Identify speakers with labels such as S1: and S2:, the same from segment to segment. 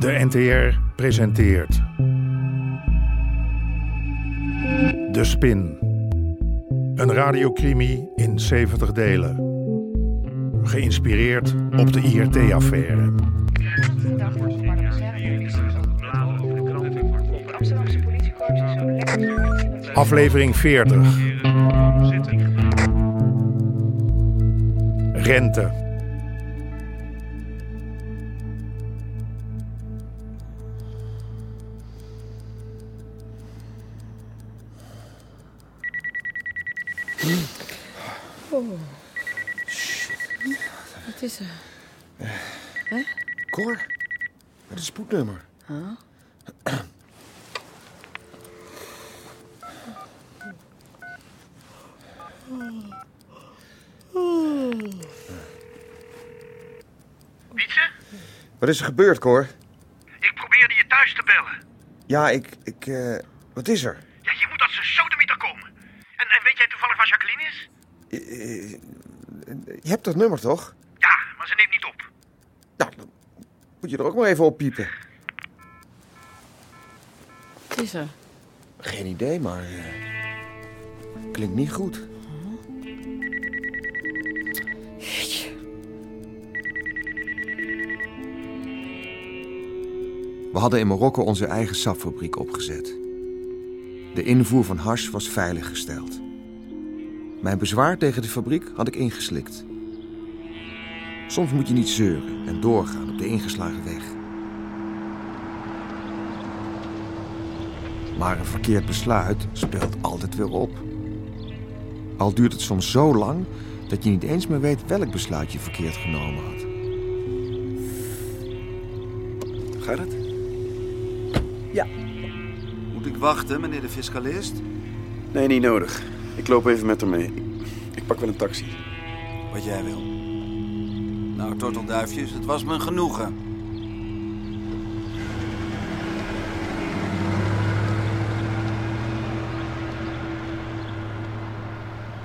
S1: De NTR presenteert. De Spin. Een radiocrimi in 70 delen. Geïnspireerd op de IRT-affaire. Aflevering 40. Rente.
S2: Wat is er?
S3: Cor, met een spoednummer.
S4: Wietse,
S3: Wat is er gebeurd, Cor?
S4: ik probeerde je thuis te bellen.
S3: Ja, ik... ik eh, wat is er?
S4: Ja, je moet als een sodemieter komen. En, en weet jij toevallig waar Jacqueline is?
S3: Eh, Je hebt dat nummer, toch?
S4: Ja, maar ze neemt niet op.
S3: Nou, dan moet je er ook maar even op piepen.
S2: Wat is er?
S3: Geen idee, maar... eh, klinkt niet goed. We hadden in Marokko onze eigen sapfabriek opgezet. De invoer van hars was veiliggesteld. Mijn bezwaar tegen de fabriek had ik ingeslikt. Soms moet je niet zeuren en doorgaan op de ingeslagen weg. Maar een verkeerd besluit speelt altijd weer op. Al duurt het soms zo lang dat je niet eens meer weet welk besluit je verkeerd genomen had.
S5: Gaat het?
S3: Ja.
S5: Moet ik wachten, meneer de fiscalist?
S3: Nee, niet nodig.
S5: Ik loop even met hem mee.
S3: Ik pak wel een taxi.
S5: Wat jij wil. Nou, tortelduifjes, het was me een genoegen.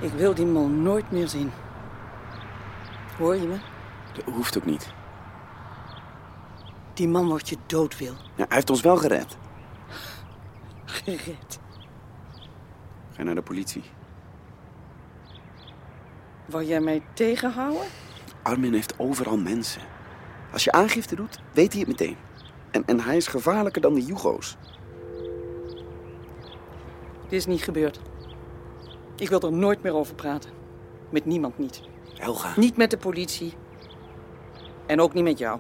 S2: Ik wil die man nooit meer zien. Hoor je me?
S6: Dat hoeft ook niet.
S2: Die man wordt je dood wil.
S6: Ja, hij heeft ons wel gered.
S2: Gered.
S6: Ga je naar de politie.
S2: Wou jij mij tegenhouden?
S6: Armin heeft overal mensen. Als je aangifte doet, weet hij het meteen. En, en hij is gevaarlijker dan de Jugo's.
S2: Dit is niet gebeurd. Ik wil er nooit meer over praten. Met niemand niet.
S6: Helga.
S2: Niet met de politie. En ook niet met jou.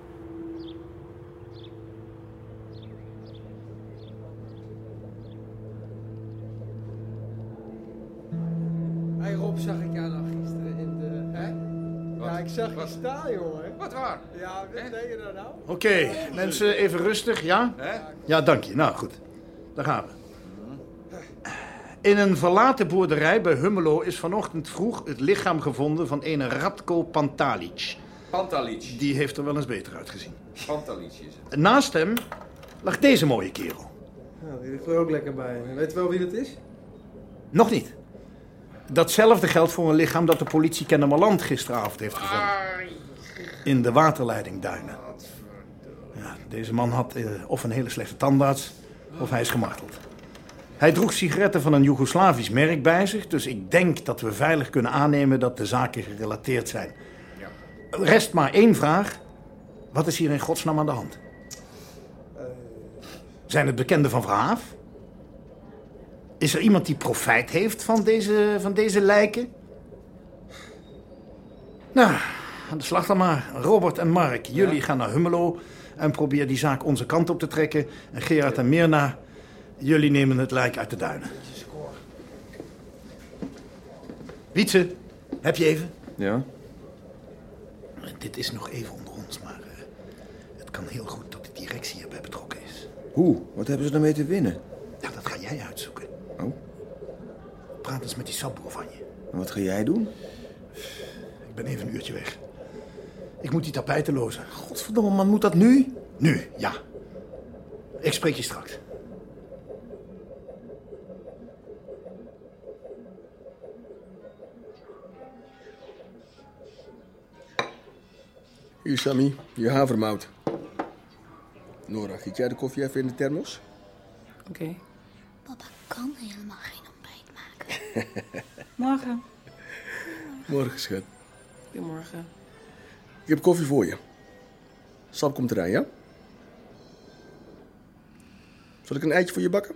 S7: Hey Rob, zag ik jou nou gisteren in de... Hè? Ja, ik zag je staan, jongen. Wat waar? Ja, wat deed je daar nou?
S8: Oké, mensen, even rustig, ja? Ja, dank je. Nou, goed. Daar gaan we. In een verlaten boerderij bij Hummelo is vanochtend vroeg het lichaam gevonden van een Radko Pantalic.
S9: Pantalic.
S8: Die heeft er wel eens beter uitgezien.
S9: Pantalic is het.
S8: En naast hem lag deze mooie kerel.
S7: Nou, die ligt er ook lekker bij. Weet je wel wie dat is?
S8: Nog niet. Datzelfde geldt voor een lichaam dat de politie Kennemerland gisteravond heeft gevonden. In de waterleidingduinen. Ja, deze man had eh, of een hele slechte tandarts, of hij is gemarteld. Hij droeg sigaretten van een Joegoslavisch merk bij zich, dus ik denk dat we veilig kunnen aannemen dat de zaken gerelateerd zijn. Rest maar één vraag. Wat is hier in godsnaam aan de hand? Zijn het bekenden van Verhaaf? Is er iemand die profijt heeft van deze, van deze lijken? Nou, aan de slag dan maar. Robert en Mark, jullie gaan naar Hummelo en probeer die zaak onze kant op te trekken. En Gerard en Mirna, jullie nemen het lijk uit de duinen. Wietse, heb je even?
S3: Ja?
S8: Dit is nog even onder ons, maar eh, het kan heel goed dat de directie hierbij betrokken is.
S3: Hoe? Wat hebben ze ermee te winnen?
S8: Ja, dat ga jij uitzoeken.
S3: Oh.
S8: Praat eens met die sapboer van je.
S3: En wat ga jij doen?
S8: Ik ben even een uurtje weg. Ik moet die tapijten lozen. Godverdomme man, moet dat nu? Nu, ja. Ik spreek je straks.
S10: Hier, Sammy, je havermout.
S8: Nora, giet jij de koffie even in de thermos?
S11: Oké.
S10: Papa kan helemaal geen ontbijt maken.
S11: Morgen.
S8: Morgen, schat.
S11: Goedemorgen.
S8: Ik heb koffie voor je. Sap komt eraan, ja? Zal ik een eitje voor je bakken?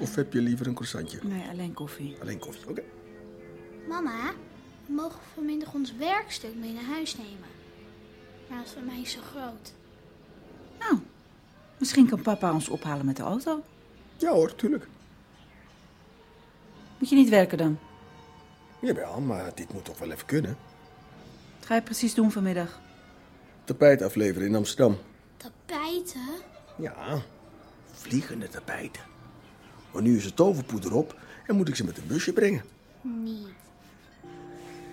S8: Of heb je liever een croissantje?
S12: Nee, alleen koffie.
S8: Alleen koffie, oké.
S10: Mama, we mogen vanmiddag ons werkstuk mee naar huis nemen. Maar dat is voor mij zo groot.
S12: Nou, misschien kan papa ons ophalen met de auto.
S8: Ja hoor, tuurlijk.
S12: Moet je niet werken dan?
S8: Jawel, maar dit moet toch wel even kunnen.
S12: Wat ga je precies doen vanmiddag?
S8: Tapijt afleveren in Amsterdam.
S10: Tapijten?
S8: Ja, vliegende tapijten. Maar nu is het toverpoeder op en moet ik ze met een busje brengen.
S10: Niet.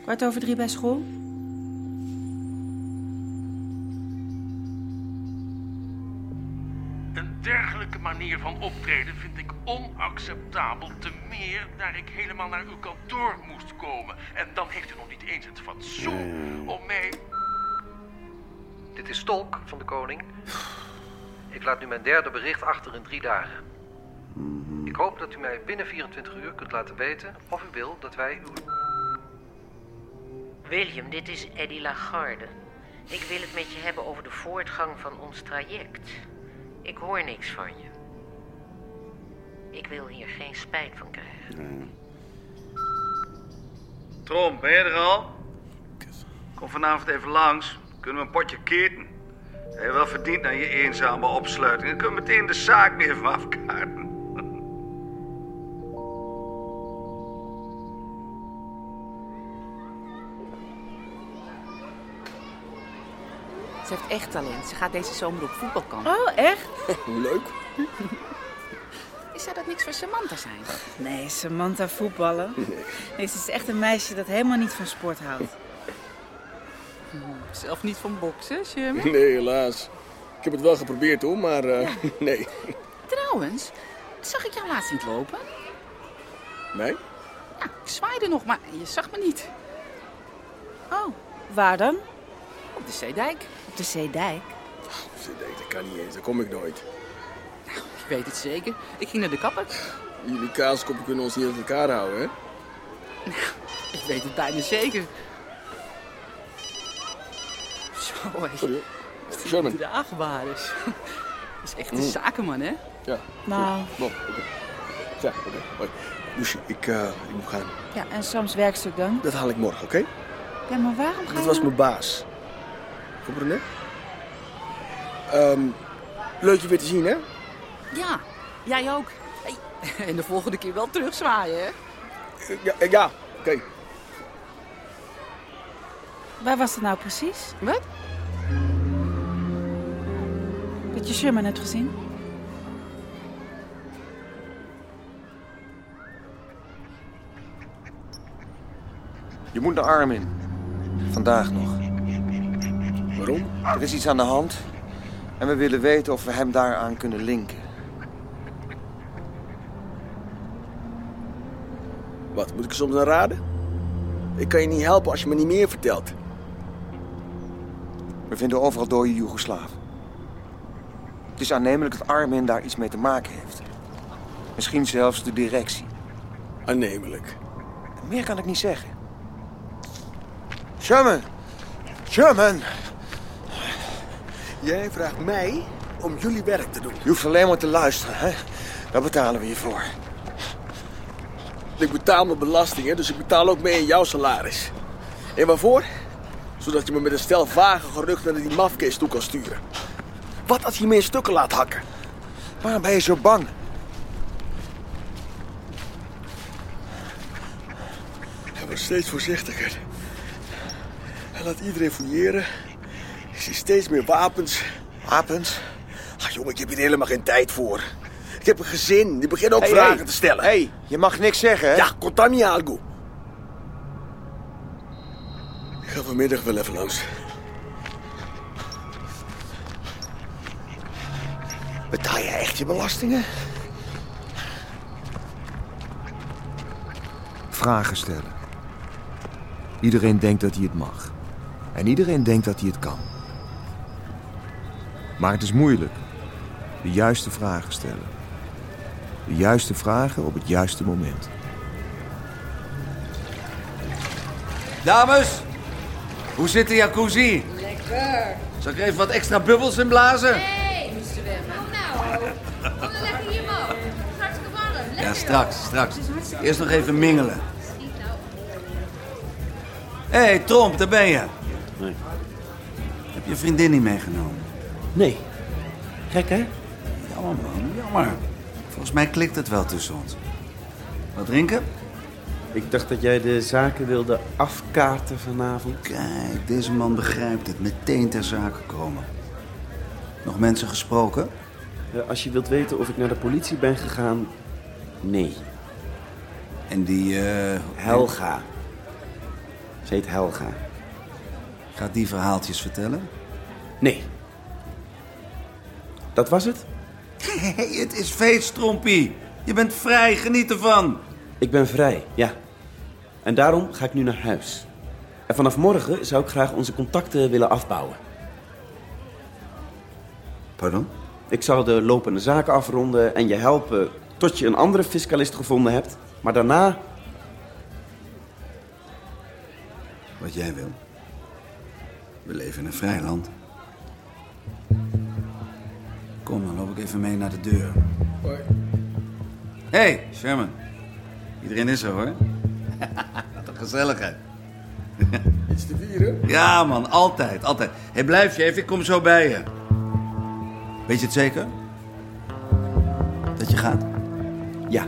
S12: Kwart over drie bij school?
S5: Een dergelijke manier van optreden vind ik onacceptabel. Te meer daar ik helemaal naar uw kantoor moest komen. En dan heeft u nog niet eens het fatsoen om mij.
S13: Dit is Tolk van de Koning. Ik laat nu mijn derde bericht achter in drie dagen. Ik hoop dat u mij binnen 24 uur kunt laten weten of u wil dat wij uw...
S14: William, dit is Eddie Lagarde. Ik wil het met je hebben over de voortgang van ons traject. Ik hoor niks van je. Ik wil hier geen spijt van krijgen.
S7: Trom, ben je er al? Kom vanavond even langs. Kunnen we een potje keten? Heb je wel verdiend aan je eenzame opsluiting. Dan kunnen we meteen de zaak weer van afkaarten.
S15: Ze heeft echt talent. Ze gaat deze zomer op voetbalkamp.
S12: Oh, echt?
S8: Hoe leuk.
S15: Is zou dat niks voor Samantha zijn?
S12: Nee, Samantha voetballen. Nee, ze is echt een meisje dat helemaal niet van sport houdt.
S15: Hm, Zelf niet van boksen, Jim?
S8: Nee, helaas. Ik heb het wel geprobeerd hoor, maar eh, nee.
S15: Trouwens, zag ik jou laatst niet lopen?
S8: Nee?
S15: Ja, ik zwaaide nog, maar je zag me niet.
S12: Oh, waar dan?
S15: Op de Zeedijk.
S12: Op de Zeedijk?
S8: Ze denkt, dat kan niet eens, daar kom ik nooit.
S15: Ik weet het zeker. Ik ging naar de kapper.
S8: Jullie kaaskoppen kunnen ons niet uit elkaar houden, hè?
S15: Ik weet het bijna zeker. Zo, hé.
S8: Sorry.
S15: Sherman. De achtbares. Dat is echt een
S8: Mm.
S15: zakenman, hè?
S8: Ja.
S12: Nou.
S8: Bon, oké. Ja, oké. hoi. Loesje, ik, eh, ik moet gaan.
S12: Ja, en Sam's werkstuk dan?
S8: Dat haal ik morgen, oké?
S12: Ja, maar waarom ga je...
S8: Dat was
S12: nou-
S8: mijn baas. Comprenez? Ehm leuk je weer te zien, hè?
S15: Ja, jij ook. Hey, En de volgende keer wel terugzwaaien, hè?
S8: Eh, Ja, eh, ja. oké.
S12: Waar was het nou precies?
S15: Wat?
S12: Dat je Sherman hebt gezien?
S3: Je moet naar Armin. Vandaag nog.
S8: Waarom?
S3: Er is iets aan de hand. En we willen weten of we hem daaraan kunnen linken.
S8: Wat, moet ik er soms aan raden? Ik kan je niet helpen als je me niet meer vertelt.
S3: We vinden overal dode Joegoslaven. Het is aannemelijk dat Armin daar iets mee te maken heeft. Misschien zelfs de directie.
S8: Aannemelijk.
S3: Meer kan ik niet zeggen. Sherman! Sherman!
S8: Jij vraagt mij om jullie werk te doen.
S3: Je hoeft alleen maar te luisteren, hè? Daar betalen we je voor.
S8: Ik betaal mijn belasting, hè, dus ik betaal ook mee in jouw salaris. En waarvoor? Zodat je me met een stel vage geruchten naar die mafkees toe kan sturen. Wat als je me in stukken laat hakken?
S3: Waarom ben je zo bang?
S8: Hij wordt steeds voorzichtiger. Hij laat iedereen fouilleren. Ik zie steeds meer wapens.
S3: Wapens?
S8: Ach jongen, ik heb hier helemaal geen tijd voor. Ik heb een gezin, die begint ook
S3: Hey,
S8: vragen
S3: hey.
S8: te stellen.
S3: Hé, hey, je mag niks zeggen, hè?
S8: Ja, contami algo. Ik ga vanmiddag wel even langs.
S3: Betaal je echt je belastingen? Vragen stellen. Iedereen denkt dat hij het mag. En iedereen denkt dat hij het kan. Maar het is moeilijk. De juiste vragen stellen. De juiste vragen op het juiste moment.
S5: Dames, hoe zit de jacuzzi?
S16: Lekker.
S5: Zal ik er even wat extra bubbels in blazen?
S16: Nee, moest er weg. Kom nou. Kom dan lekker hier, man. Het is hartstikke warm. Lekker.
S5: Ja, straks, straks.
S16: Het is hartstikke
S5: Eerst nog even mingelen. Hé, hey, Tromp, daar ben je.
S6: Nee.
S5: Heb je vriendin niet meegenomen?
S6: Nee. Gek, hè?
S5: Jammer, man. Jammer. Volgens mij klikt het wel tussen ons. Wat drinken?
S6: Ik dacht dat jij de zaken wilde afkaarten vanavond.
S5: Kijk, deze man begrijpt het. Meteen ter zake komen. Nog mensen gesproken?
S6: Eh, Als je wilt weten of ik naar de politie ben gegaan, nee.
S5: En die... eh
S6: Helga. Ze heet Helga.
S5: Gaat die verhaaltjes vertellen?
S6: Nee. Dat was het?
S5: Hey, het is feest, Trompie. Je bent vrij, geniet ervan.
S6: Ik ben vrij, ja. En daarom ga ik nu naar huis. En vanaf morgen zou ik graag onze contacten willen afbouwen.
S5: Pardon?
S6: Ik zal de lopende zaken afronden en je helpen tot je een andere fiscalist gevonden hebt. Maar daarna
S5: Wat jij wil. We leven in een vrij land. Kom, dan loop ik even mee naar de deur.
S7: Hoi.
S5: Hé, hey, Sherman. Iedereen is er, hoor. Wat een gezelligheid.
S7: Iets te vieren?
S5: Ja, man, altijd, altijd. Hé, hey, blijf je even, ik kom zo bij je. Weet je het zeker? Dat je gaat?
S6: Ja.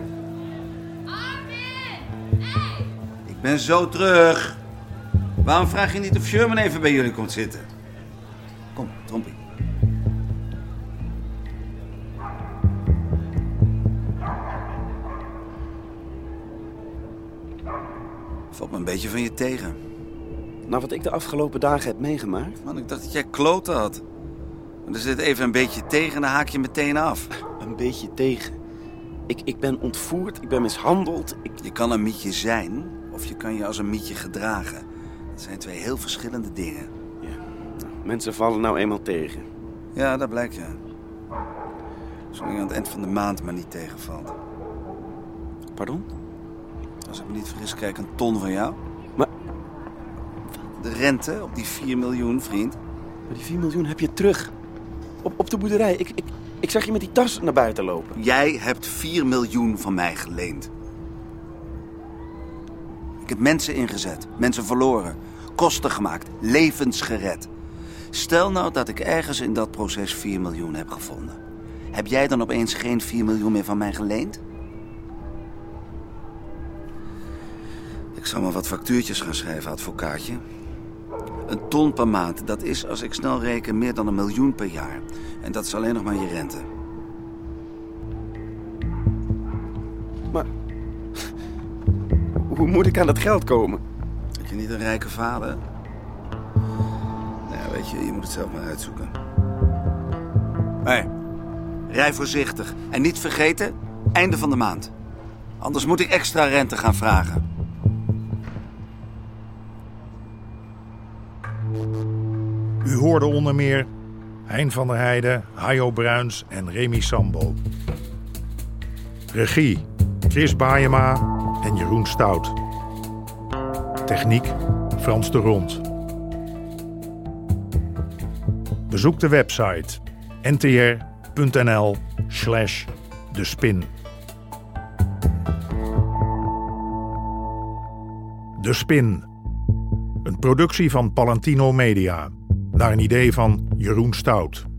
S5: Ik ben zo terug. Waarom vraag je niet of Sherman even bij jullie komt zitten? Kom, Trompie. Valt me een beetje van je tegen.
S6: Na wat ik de afgelopen dagen heb meegemaakt.
S5: Man, ik dacht dat jij kloten had. Maar er zit even een beetje tegen en dan haak je meteen af.
S6: Een beetje tegen. Ik, ik ben ontvoerd, ik ben mishandeld. Ik...
S5: Je kan een mietje zijn of je kan je als een mietje gedragen. Dat zijn twee heel verschillende dingen.
S6: Mensen vallen nou eenmaal tegen.
S5: Ja, dat blijkt ja. Zolang je aan het eind van de maand maar niet tegenvalt.
S6: Pardon?
S5: Als ik me niet vergis, krijg ik een ton van jou.
S6: Maar-
S5: De rente op die 4 miljoen, vriend.
S6: Maar die 4 miljoen heb je terug. Op, op de boerderij. Ik, ik, ik zag je met die tas naar buiten lopen.
S5: Jij hebt 4 miljoen van mij geleend. Ik heb mensen ingezet, mensen verloren, kosten gemaakt, levens gered. Stel nou dat ik ergens in dat proces 4 miljoen heb gevonden. Heb jij dan opeens geen 4 miljoen meer van mij geleend? Ik zal maar wat factuurtjes gaan schrijven, advocaatje. Een ton per maand, dat is als ik snel reken meer dan een miljoen per jaar. En dat is alleen nog maar je rente.
S6: Hoe moet ik aan dat geld komen?
S5: Heb je niet een rijke vader? Nou, ja, weet je, je moet het zelf maar uitzoeken. Hé, rij voorzichtig. En niet vergeten, einde van de maand. Anders moet ik extra rente gaan vragen.
S1: U hoorde onder meer Hein van der Heijden, Hajo Bruins en Remy Sambo. Regie Chris Baayema en Jeroen Stout. Techniek Frans de Rond. Bezoek de website ntr.nl slash de spin. De Spin. Een productie van Palantino Media. Naar een idee van Jeroen Stout.